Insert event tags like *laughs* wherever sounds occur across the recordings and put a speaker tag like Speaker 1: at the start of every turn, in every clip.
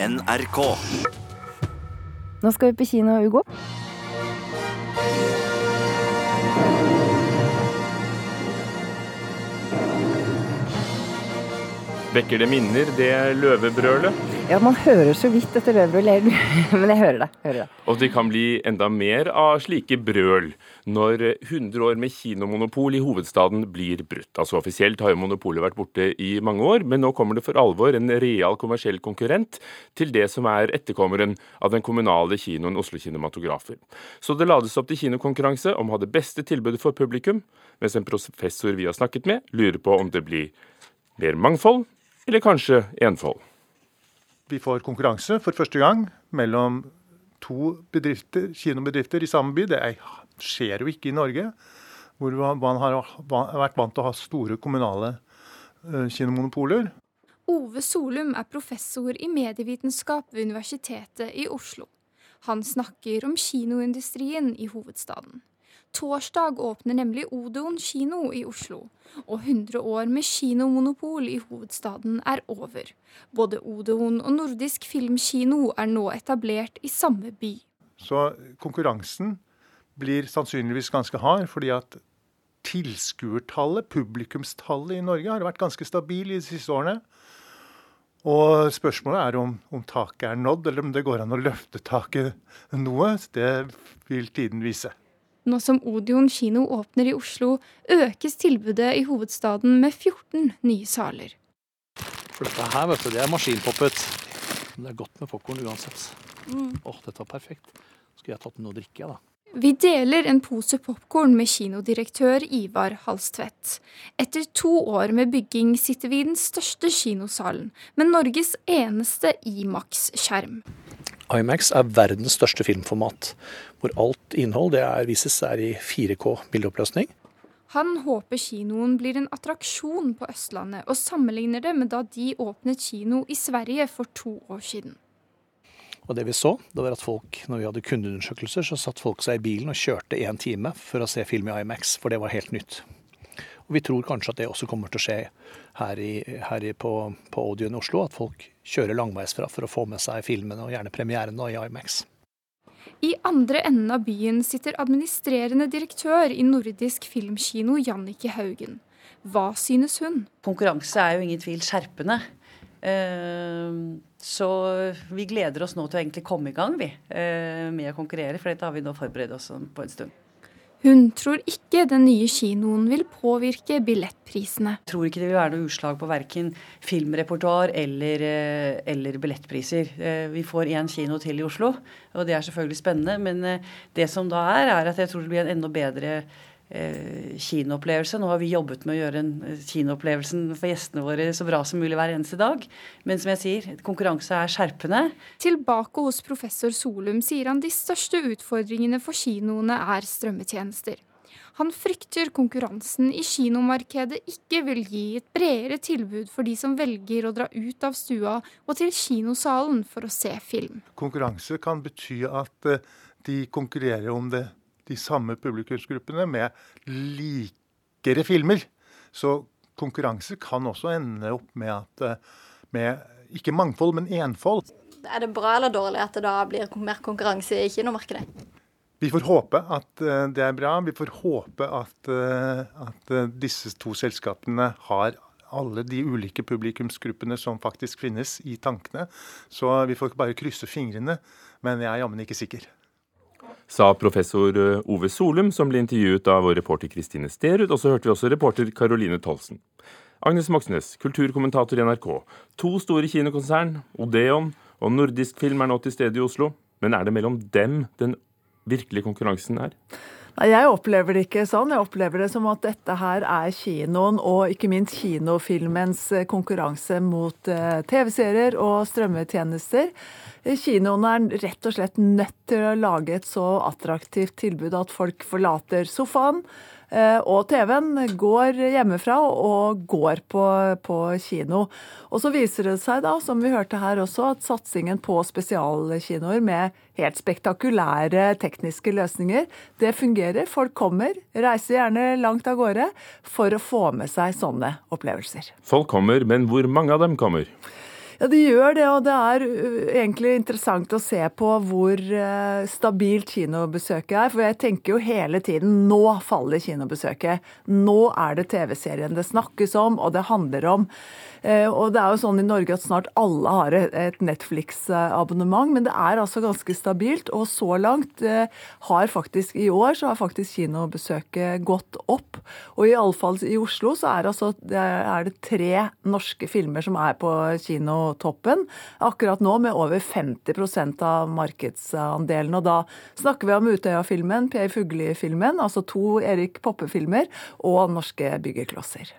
Speaker 1: NRK.
Speaker 2: Nå skal vi på kino, Ugo.
Speaker 3: Vekker det minner, det løvebrølet?
Speaker 2: Ja, man hører så vidt dette løvrullet, *laughs* men jeg hører det. Hører det.
Speaker 3: Og det kan bli enda mer av slike brøl når 100 år med kinomonopol i hovedstaden blir brutt. Altså Offisielt har jo monopolet vært borte i mange år, men nå kommer det for alvor en real kommersiell konkurrent til det som er etterkommeren av den kommunale kinoen Oslo Kinematografer. Så det lades opp til kinokonkurranse om å ha det beste tilbudet for publikum, mens en professor vi har snakket med, lurer på om det blir mer mangfold eller kanskje enfold.
Speaker 4: Vi får konkurranse for første gang mellom to bedrifter, kinobedrifter i samme by. Det er- skjer jo ikke i Norge, hvor man har vært vant til å ha store kommunale eh, kinomonopoler.
Speaker 5: Ove Solum er professor i medievitenskap ved Universitetet i Oslo. Han snakker om kinoindustrien i hovedstaden. Torsdag åpner nemlig Odeon kino i Oslo, og 100 år med kinomonopol i hovedstaden er over. Både Odeon og Nordisk Filmkino er nå etablert i samme by.
Speaker 4: Så konkurransen blir sannsynligvis ganske hard, fordi at tilskuertallet, publikumstallet i Norge, har vært ganske stabil i de siste årene. Og spørsmålet er om, om taket er nådd, eller om det går an å løfte taket noe. Det vil tiden vise.
Speaker 5: Nå som Odeon kino åpner i Oslo, økes tilbudet i hovedstaden med 14 nye saler.
Speaker 6: For dette her, vet du, det er maskinpoppet. Men det er godt med popkorn uansett. Åh, dette var perfekt. Skulle jeg tatt med noe å drikke, jeg, da.
Speaker 5: Vi deler en pose popkorn med kinodirektør Ivar Halstvedt. Etter to år med bygging sitter vi i den største kinosalen, med Norges eneste Imax-skjerm.
Speaker 6: IMAX er verdens største filmformat, hvor alt innhold det er, vises er i 4K bildeoppløsning.
Speaker 5: Han håper kinoen blir en attraksjon på Østlandet, og sammenligner det med da de åpnet kino i Sverige for to år siden.
Speaker 6: Og det vi så, det var at folk, når vi hadde kundeundersøkelser, så satt folk seg i bilen og kjørte én time for å se film i IMAX, for det var helt nytt. Og vi tror kanskje at det også kommer til å skje her, i, her i, på, på Odeon i Oslo, at folk kjører langveisfra for å få med seg filmene, og gjerne premierene, i IMAX.
Speaker 5: I andre enden av byen sitter administrerende direktør i Nordisk Filmkino Jannicke Haugen. Hva synes hun?
Speaker 7: Konkurranse er jo ingen tvil skjerpende. Eh, Så vi gleder oss nå til å egentlig komme i gang vi, eh, med å konkurrere, for dette har vi nå forberedt oss på en stund.
Speaker 5: Hun tror ikke den nye kinoen vil påvirke billettprisene.
Speaker 7: Jeg tror ikke det vil være noe utslag på verken filmrepertoar eller, eh, eller billettpriser. Eh, Vi får én kino til i Oslo, og det er selvfølgelig spennende. Men eh, det som da er, er at jeg tror det blir en enda bedre eh, kinoopplevelse. Nå har vi jobbet med å gjøre en, eh, kinoopplevelsen for gjestene våre så bra som mulig hver eneste dag. Men som jeg sier, konkurranse er skjerpende.
Speaker 5: Tilbake hos professor Solum sier han de største utfordringene for kinoene er strømmetjenester. Han frykter konkurransen i kinomarkedet ikke vil gi et bredere tilbud for de som velger å dra ut av stua og til kinosalen for å se film.
Speaker 4: Konkurranse kan bety at eh, de konkurrerer om det, de samme publikumsgruppene med likere filmer. Så konkurranse kan også ende opp med at eh, med ikke mangfold, men enfold.
Speaker 8: Er det bra eller dårlig at det da blir mer konkurranse i kinomarkedet?
Speaker 4: Vi får håpe at eh, det er bra. Vi får håpe at, eh, at eh, disse to selskapene har alle de ulike publikumsgruppene som faktisk finnes, i tankene. Så vi får bare krysse fingrene. Men jeg er jammen ikke sikker.
Speaker 3: sa professor eh, Ove Solum, som ble intervjuet av vår reporter Kristine Sterud, og så hørte vi også reporter Caroline Tolsen. Agnes Moxnes, kulturkommentator i NRK. To store kinokonsern, Odeon og Nordisk Film, er nå til stede i Oslo. Men er det mellom dem den virkelige konkurransen er?
Speaker 9: Nei, Jeg opplever det ikke sånn. Jeg opplever det som at dette her er kinoen, og ikke minst kinofilmens eh, konkurranse mot eh, TV-serier og strømmetjenester. Eh, Kinoen er rett og slett nødt til å lage et så attraktivt tilbud at folk forlater sofaen eh, og TV-en, går hjemmefra og går på, på kino. Og så viser det seg da, som vi hørte her også, at satsingen på spesialkinoer med helt spektakulære tekniske løsninger. Det fungerer. Folk kommer, reiser gjerne langt av gårde for å få med seg sånne opplevelser.
Speaker 3: Folk kommer, men hvor mange av dem kommer?
Speaker 9: Ja, det gjør det, og det er ø, egentlig interessant å se på hvor ø, stabilt kinobesøket er. For jeg tenker jo hele tiden nå faller kinobesøket. Nå er det TV-serien det snakkes om, og det handler om. Eh, Og det er jo sånn i Norge at snart alle har et- et Netflix-abonnement, men det er altså ganske stabilt. Og så langt eh, har faktisk i år så har faktisk kinobesøket gått opp. Og iallfall i Oslo så er, altså, det er det tre norske filmer som er på kinotoppen akkurat nå, med over 50 av markedsandelen. Og da snakker vi om Utøya-filmen, Per Fugelli-filmen, altså to Erik Poppe-filmer, og norske byggeklosser.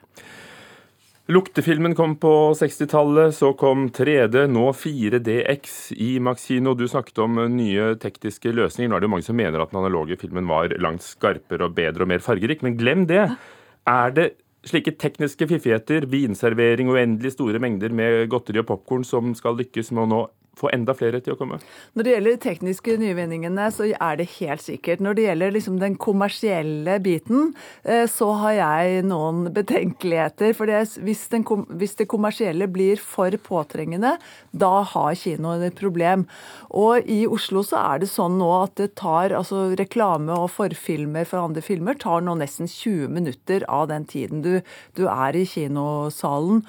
Speaker 3: Luktefilmen kom på 60-tallet, så kom 3D, nå 4DX i Maxino. Du snakket om eh, nye tekniske løsninger. Nå er det jo mange som mener at den analoge filmen var langt skarpere og bedre og mer fargerik, men glem det. Er det slike tekniske fiffigheter, vinservering og uendelig store mengder med godteri og popkorn som skal lykkes med å nå få enda flere til å komme?
Speaker 9: Når det gjelder de tekniske nyvinningene, så er det helt sikkert. Når det gjelder liksom den kommersielle biten, eh, så har jeg noen betenkeligheter. For det, hvis, den, kom- hvis det kommersielle blir for påtrengende, da har kinoen et problem. Og i Oslo så er det sånn nå at det tar altså reklame og forfilmer for andre filmer tar nå nesten 20 minutter av den tiden du, du er i kinosalen.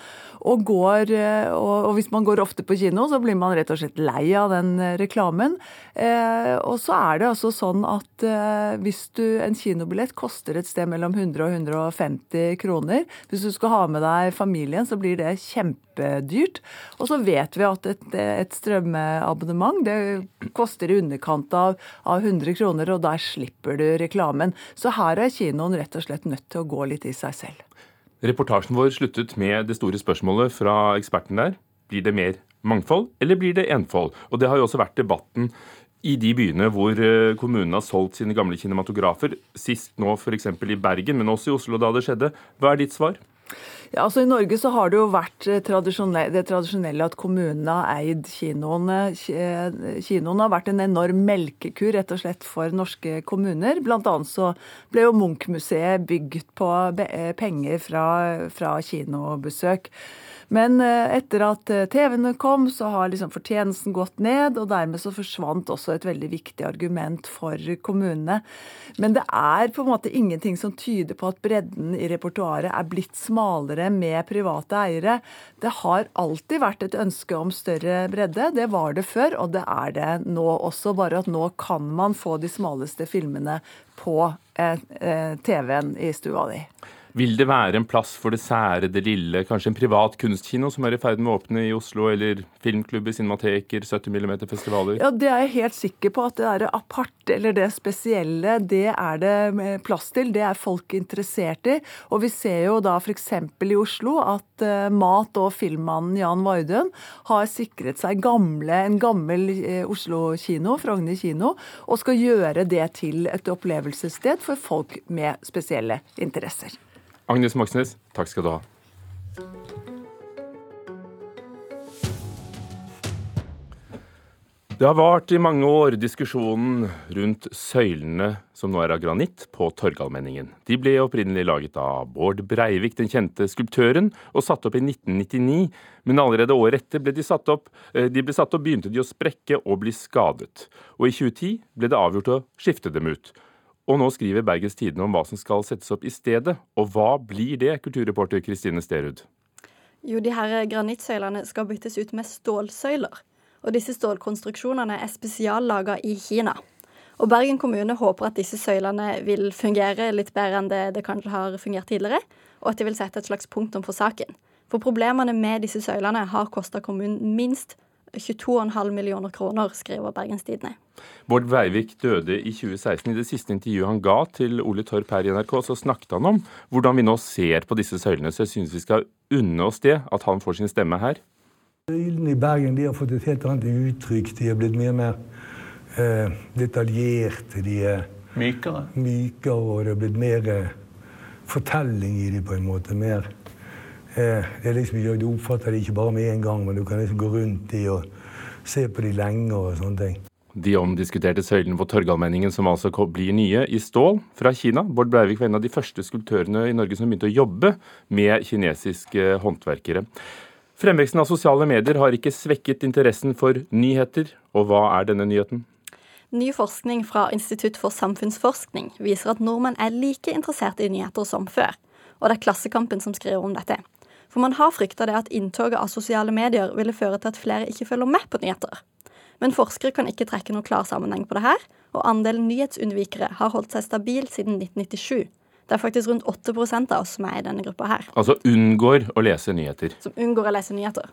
Speaker 9: Og, går, eh, og, og hvis man går ofte på kino, så blir man rett og slett lei av den eh, reklamen. Eh, og så er det altså sånn at eh, hvis du, en kinobillett koster et sted mellom 100 og 150 kroner. Hvis du skal ha med deg familien, så blir det kjempedyrt. Og så vet vi at et, et strømmeabonnement det koster i underkant av, av 100 kroner, og der slipper du reklamen. Så her er kinoen rett og slett nødt til å gå litt i seg selv.
Speaker 3: Reportasjen vår sluttet med det store spørsmålet fra eksperten der. Blir det mer mangfold, eller blir det enfold? Og det har jo også vært debatten i de byene hvor eh, kommunene har solgt sine gamle kinematografer. Sist nå f.eks. i Bergen, men også i Oslo da det skjedde. Hva er ditt svar?
Speaker 9: Ja, altså I Norge så har det jo vært eh, tradisjonelle, det tradisjonelle at kommunene har eid kinoene. Ki- eh, Kinoene har vært en enorm melkekur rett og slett for norske kommuner. Blant annet så ble jo Munch-museet bygget på be- eh, penger fra, fra kinobesøk. Men eh, etter at eh, TV-ene kom, så har liksom fortjenesten gått ned, og dermed så forsvant også et veldig viktig argument for kommunene. Men det er på en måte ingenting som tyder på at bredden i repertoaret er blitt smalere med private eiere. Det har alltid vært et ønske om større bredde. Det var det før, og det er det nå også, bare at nå kan man få de smaleste filmene på eh, eh, TV-en i stua di.
Speaker 3: Vil det være en plass for det sære, det lille, kanskje en privat kunstkino som er i ferd med å åpne i Oslo, eller filmklubber, cinemateker, 70 mm-festivaler?
Speaker 9: Ja, Det er jeg helt sikker på at det der aparte eller det spesielle, det er det plass til. Det er folk interessert i. Og vi ser jo da f.eks. i Oslo at eh, mat- og filmmannen Jan Vardøen har sikret seg gamle, en gammel eh, Oslo kino, Frogner kino, og skal gjøre det til et opplevelsessted for folk med spesielle interesser.
Speaker 3: Agnes Moxnes, takk skal du ha. Det har vart i mange år diskusjonen rundt søylene som nå er av granitt på Torgallmenningen. De ble opprinnelig laget av Bård Breivik, den kjente skulptøren, og satt opp i 1999. Men allerede året etter ble de satt opp, eh, de ble satt opp begynte de å sprekke og bli skadet. Og i 2010 ble det avgjort å skifte dem ut. Og nå skriver Bergens Tidende om hva som skal settes opp i stedet. Og hå blir det, kulturreporter Kristine Sterud?
Speaker 8: Jo, de her granittsøylene skal byttes ut med stålsøyler. Og disse stålkonstruksjonene er spesiallaga i Kina. Og Bergen kommune håper at disse søylene vil fungere litt bedre enn det det kanskje har fungert tidligere, og at de vil sette et slags punktum for saken. For problemene med disse søylene har kosta kommunen minst 22,5 millioner kroner, skriver Bergens Tidende.
Speaker 3: Bård Breivik døde i 2016. I det siste intervjuet han ga til Ole Torp her i NRK, så snakket han om hvordan vi nå ser på disse søylene. Så jeg syns vi skal unne oss det, at han får sin stemme her.
Speaker 1: Bildene i Bergen de har fått et helt annet uttrykk. De er blitt mye mer eh, detaljerte. De er
Speaker 4: Mykere.
Speaker 1: mykere, og det er blitt mer eh, fortelling i dem, på en måte. Mer, eh, det er liksom, ikke- du oppfatter det ikke bare med en gang, men du kan liksom gå rundt i og se på de lenge og sånne ting.
Speaker 3: De omdiskuterte søylene på Torgallmenningen, som altså ko- blir nye, i stål fra Kina. Bård Breivik var en av de første skulptørene i Norge som begynte å jobbe med kinesiske eh, håndverkere. Fremveksten av sosiale medier har ikke svekket interessen for nyheter, og hva er denne nyheten?
Speaker 8: Ny forskning fra Institutt for samfunnsforskning viser at nordmenn er like interessert i nyheter som før, og det er Klassekampen som skriver om dette. For man har frykta det at inntoget av sosiale medier ville føre til at flere ikke følger med på nyheter. Men forskere kan ikke trekke noen klar sammenheng på det her, og andelen nyhetsunnvikere har holdt seg stabil siden 1997. Det er faktisk rundt 8 av oss som er i denne gruppa her,
Speaker 3: Altså unngår å lese nyheter.
Speaker 8: som unngår å lese nyheter.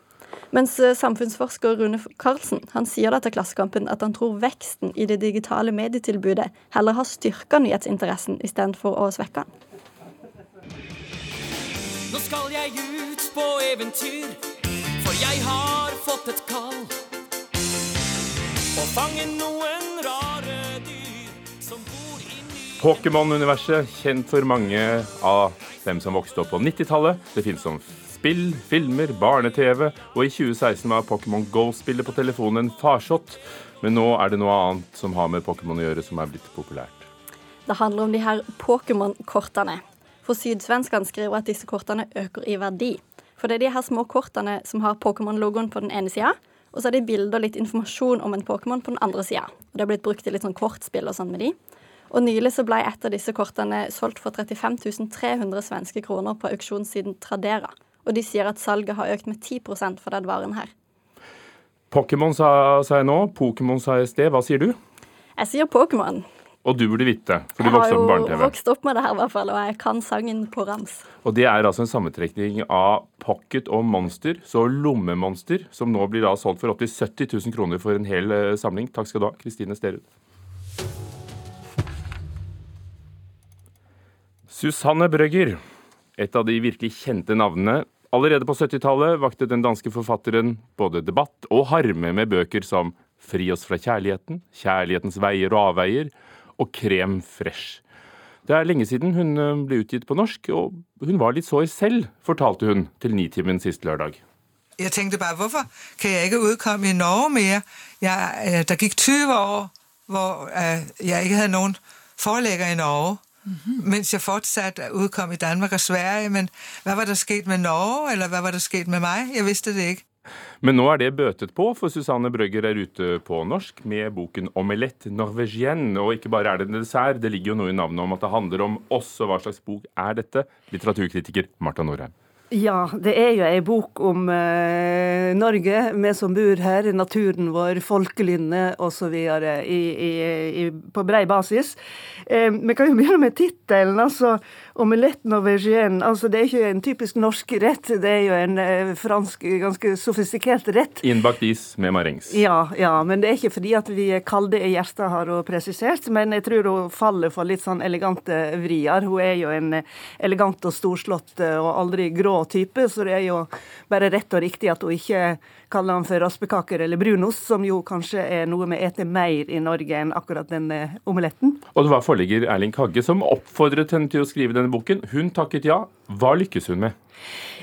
Speaker 8: Mens eh, samfunnsforsker Rune Karlsen han sier det til Klassekampen at han tror veksten i det digitale medietilbudet heller har styrka nyhetsinteressen istedenfor å svekke den.
Speaker 10: Nå skal jeg ut på eventyr, for jeg har fått et kall. Å fange noen rare dyr som bor i ny...
Speaker 3: Pokémon-universet, kjent for mange av dem som vokste opp på 90-tallet. Det finnes som spill, filmer, barne-TV, og i 2016 var Pokémon Go-spillet på telefonen en farsott. Men nå er det noe annet som har med Pokémon å gjøre, som er blitt populært.
Speaker 8: Det handler om de her Pokémon-kortene. For sydsvenskene skriver at disse kortene øker i verdi. For det er de her små kortene som har Pokémon-logoen på den ene sida, og så er det bilder og litt informasjon om en Pokémon på den andre sida. Og det er blitt brukt i litt sånn kortspill og sånn med de. Og nylig så ble et av disse kortene solgt for 35 300 svenske kroner på auksjonssiden Tradera. Og de sier at salget har økt med 10 for den varen her.
Speaker 3: Pokémon sa, sa jeg nå, Pokémon sa jeg i sted. Hva sier du?
Speaker 8: Jeg sier Pokémon.
Speaker 3: Og du burde vite, for
Speaker 8: Jeg
Speaker 3: du
Speaker 8: har
Speaker 3: vokste opp med
Speaker 8: jo
Speaker 3: barne-TV.
Speaker 8: vokst opp med det her, i hvert fall, og jeg kan sangen på rams.
Speaker 3: Og det er altså en sammentrekning av Pocket og Monster, så Lommemonster, som nå blir da solgt for opptil 70 000 kroner for en hel eh, samling. Takk skal du ha, Kristine Sterud. Susanne Brøgger, et av de virkelig kjente navnene. Allerede på 70-tallet vakte den danske forfatteren både debatt og harme med bøker som Fri oss fra kjærligheten, Kjærlighetens veier og avveier og Krem fresh. Det er lenge siden hun ø, ble utgitt på norsk, og hun var litt sår selv, fortalte hun til Nitimen sist lørdag.
Speaker 11: Jeg tenkte bare, hvorfor kan jeg ikke udkomme i Norge mere? Jeg, øh, der gik 20 år, hvor øh, jeg ikke havde nogen forlægger i Norge, mens jeg fortsat udkom i Danmark og Sverige. Men hvad var der sket med Norge, eller hvad var der sket med mig? Jeg vidste det ikke.
Speaker 3: Men nå er det bøtet på, for Susanne Brøgger er ute på norsk med boken 'Omelette norvégienne'. Og ikke bare er det en dessert, det ligger jo noe i navnet om at det handler om oss, og hva slags bok er dette? Litteraturkritiker Marta Norheim.
Speaker 9: Ja, det er jo ei bok om eh, Norge, vi som bor her, naturen vår, folkelynnet osv. på brei basis. Eh, vi kan jo begynne med tittelen, altså. 'Omelette norvégienne'. Altså, det er ikke en typisk norsk rett, det er jo en eh, fransk, ganske sofistikert rett.
Speaker 3: Innbakt is med marengs.
Speaker 9: Ja, ja, men det er ikke fordi at vi er kalde i hjertet, har hun presisert. Men jeg tror hun faller for litt sånn elegante vrier. Hun er jo en elegant og storslått eh, og aldri grå type, så det er jo bare rett og riktig at hun ikke kaller han for raspekaker eller brunost, som jo kanskje er noe vi eter mer i Norge enn akkurat den eh, omeletten.
Speaker 3: Og det var forlegger Erling Kagge som oppfordret henne til å skrive denne boken. Hun takket ja. Hva lykkes hun med?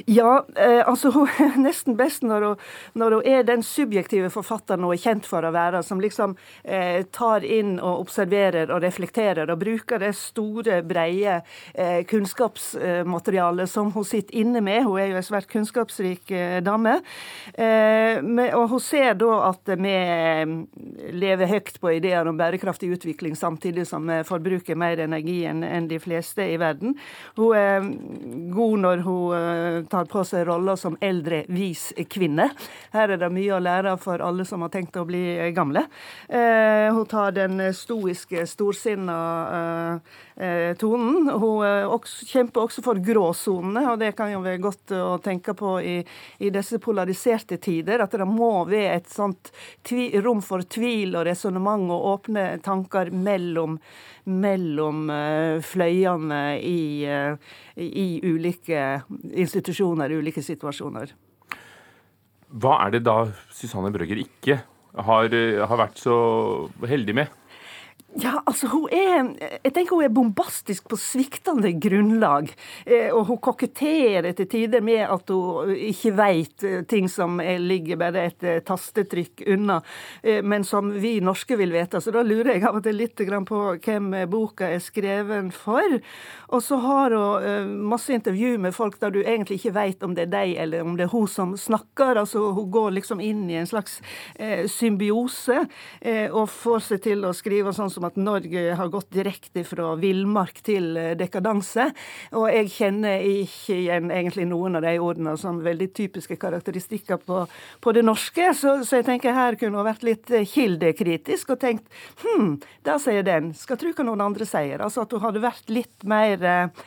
Speaker 9: Ja, eh, altså hun er nesten best når hun, når hun er den subjektive forfatteren hun er kjent for å være, som liksom eh, tar inn og observerer og reflekterer og bruker det store, breie eh, kunnskapsmaterialet som hun sitter inne med. Hun er jo en svært kunnskapsrik eh, dame. Eh, men, og hun ser da at vi eh, lever høyt på ideer om bærekraftig utvikling, samtidig som vi forbruker mer energi enn enn de fleste i verden. Hun er mm, god når hun eh, tar på seg roller som eldre vis kvinne. Her er det mye å lære for alle som har tenkt å bli eh, gamle. Eh, Hun tar den eh, stoiske, storsinna eh, eh, tonen. Hun eh, også, kjemper også for gråsonene, og det kan jo være godt eh, å tenke på i, i disse polariserte tider, at det må være et sånt tvi, rom for tvil og resonnement og åpne tanker mellom, mellom eh, fløyene i, eh, i ulike institusjoner, ulike situasjoner.
Speaker 3: Hva er det eh, da Susanne Brøgger ikke har, har vært så heldig med?
Speaker 9: Ja, altså hun er Jeg tenker hun er bombastisk på sviktende grunnlag. Eh, Og hun koketterer til tider med at hun ikke veit ting som er- ligger bare et eh, tastetrykk unna, eh, men som vi norske vil vite. Så da lurer jeg av og til litt grann på hvem eh, boka er skreven for. Og så har hun eh, masse intervju med folk der du egentlig ikke veit om det er deg eller om det er hun som snakker. Altså hun går liksom inn i en slags eh, symbiose eh, og får seg til å skrive sånn som at Norge har gått direkte fra villmark til eh, dekadanse. Og jeg kjenner ikke igjen egentlig noen av de ordene som veldig typiske karakteristikker på, på det norske, så, så jeg tenker her kunne hun vært litt eh, kildekritisk og tenkt hm, der sier den, skal tru hva noen andre sier. Altså at hun hadde vært litt mer, eh,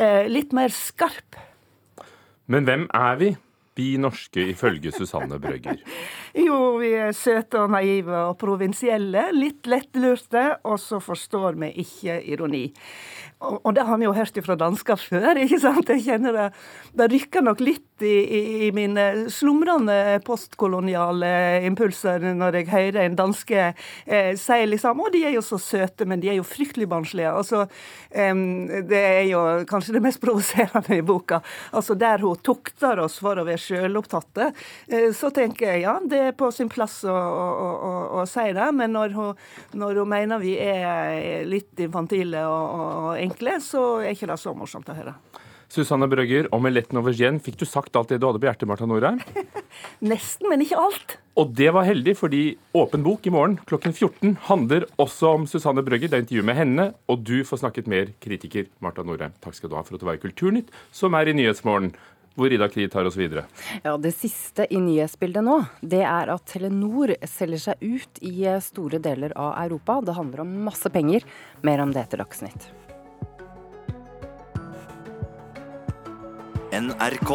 Speaker 9: eh, litt mer skarp.
Speaker 3: Men hvem er vi? Vi norske, ifølge Susanne Brøgger.
Speaker 9: Jo, vi er søte og naive og provinsielle. Litt lettlurte, og så forstår vi ikke ironi. Og, og det har vi jo hørt fra dansker før, *laughs* ikke sant? Jeg kjenner det. Det rykker nok litt i, i, i mine slumrende postkoloniale impulser når jeg hører en danske eh, si liksom Å, de er jo så søte, men de er jo fryktelig barnslige. Altså, em, det er jo kanskje det mest provoserende i boka. Altså, der hun tukter oss for å være sjølopptatte, eh, så tenker jeg ja, det er på sin plass å, å, å, å- å si det. Men når hun, når hun mener vi er litt infantile og, og, og enkle, så er ikke det så morsomt å høre.
Speaker 3: Susanne Brøgger, om Eletten over Gien, fikk du sagt alt det du hadde på hjertet, Marta Norheim?
Speaker 9: *laughs* Nesten, men ikke alt.
Speaker 3: Og det var heldig, fordi Åpen bok i morgen klokken 14 handler også om Susanne Brøgger. Det er intervju med henne, og du får snakket mer kritiker Marta Norheim. Takk skal du ha for at du var i Kulturnytt, som er i Nyhetsmorgen, hvor Ida Kri tar oss videre.
Speaker 12: Ja, Det siste i nyhetsbildet nå, det er at Telenor selger seg ut i store deler av Europa. Det handler om masse penger. Mer om det etter Dagsnytt.
Speaker 13: NRK.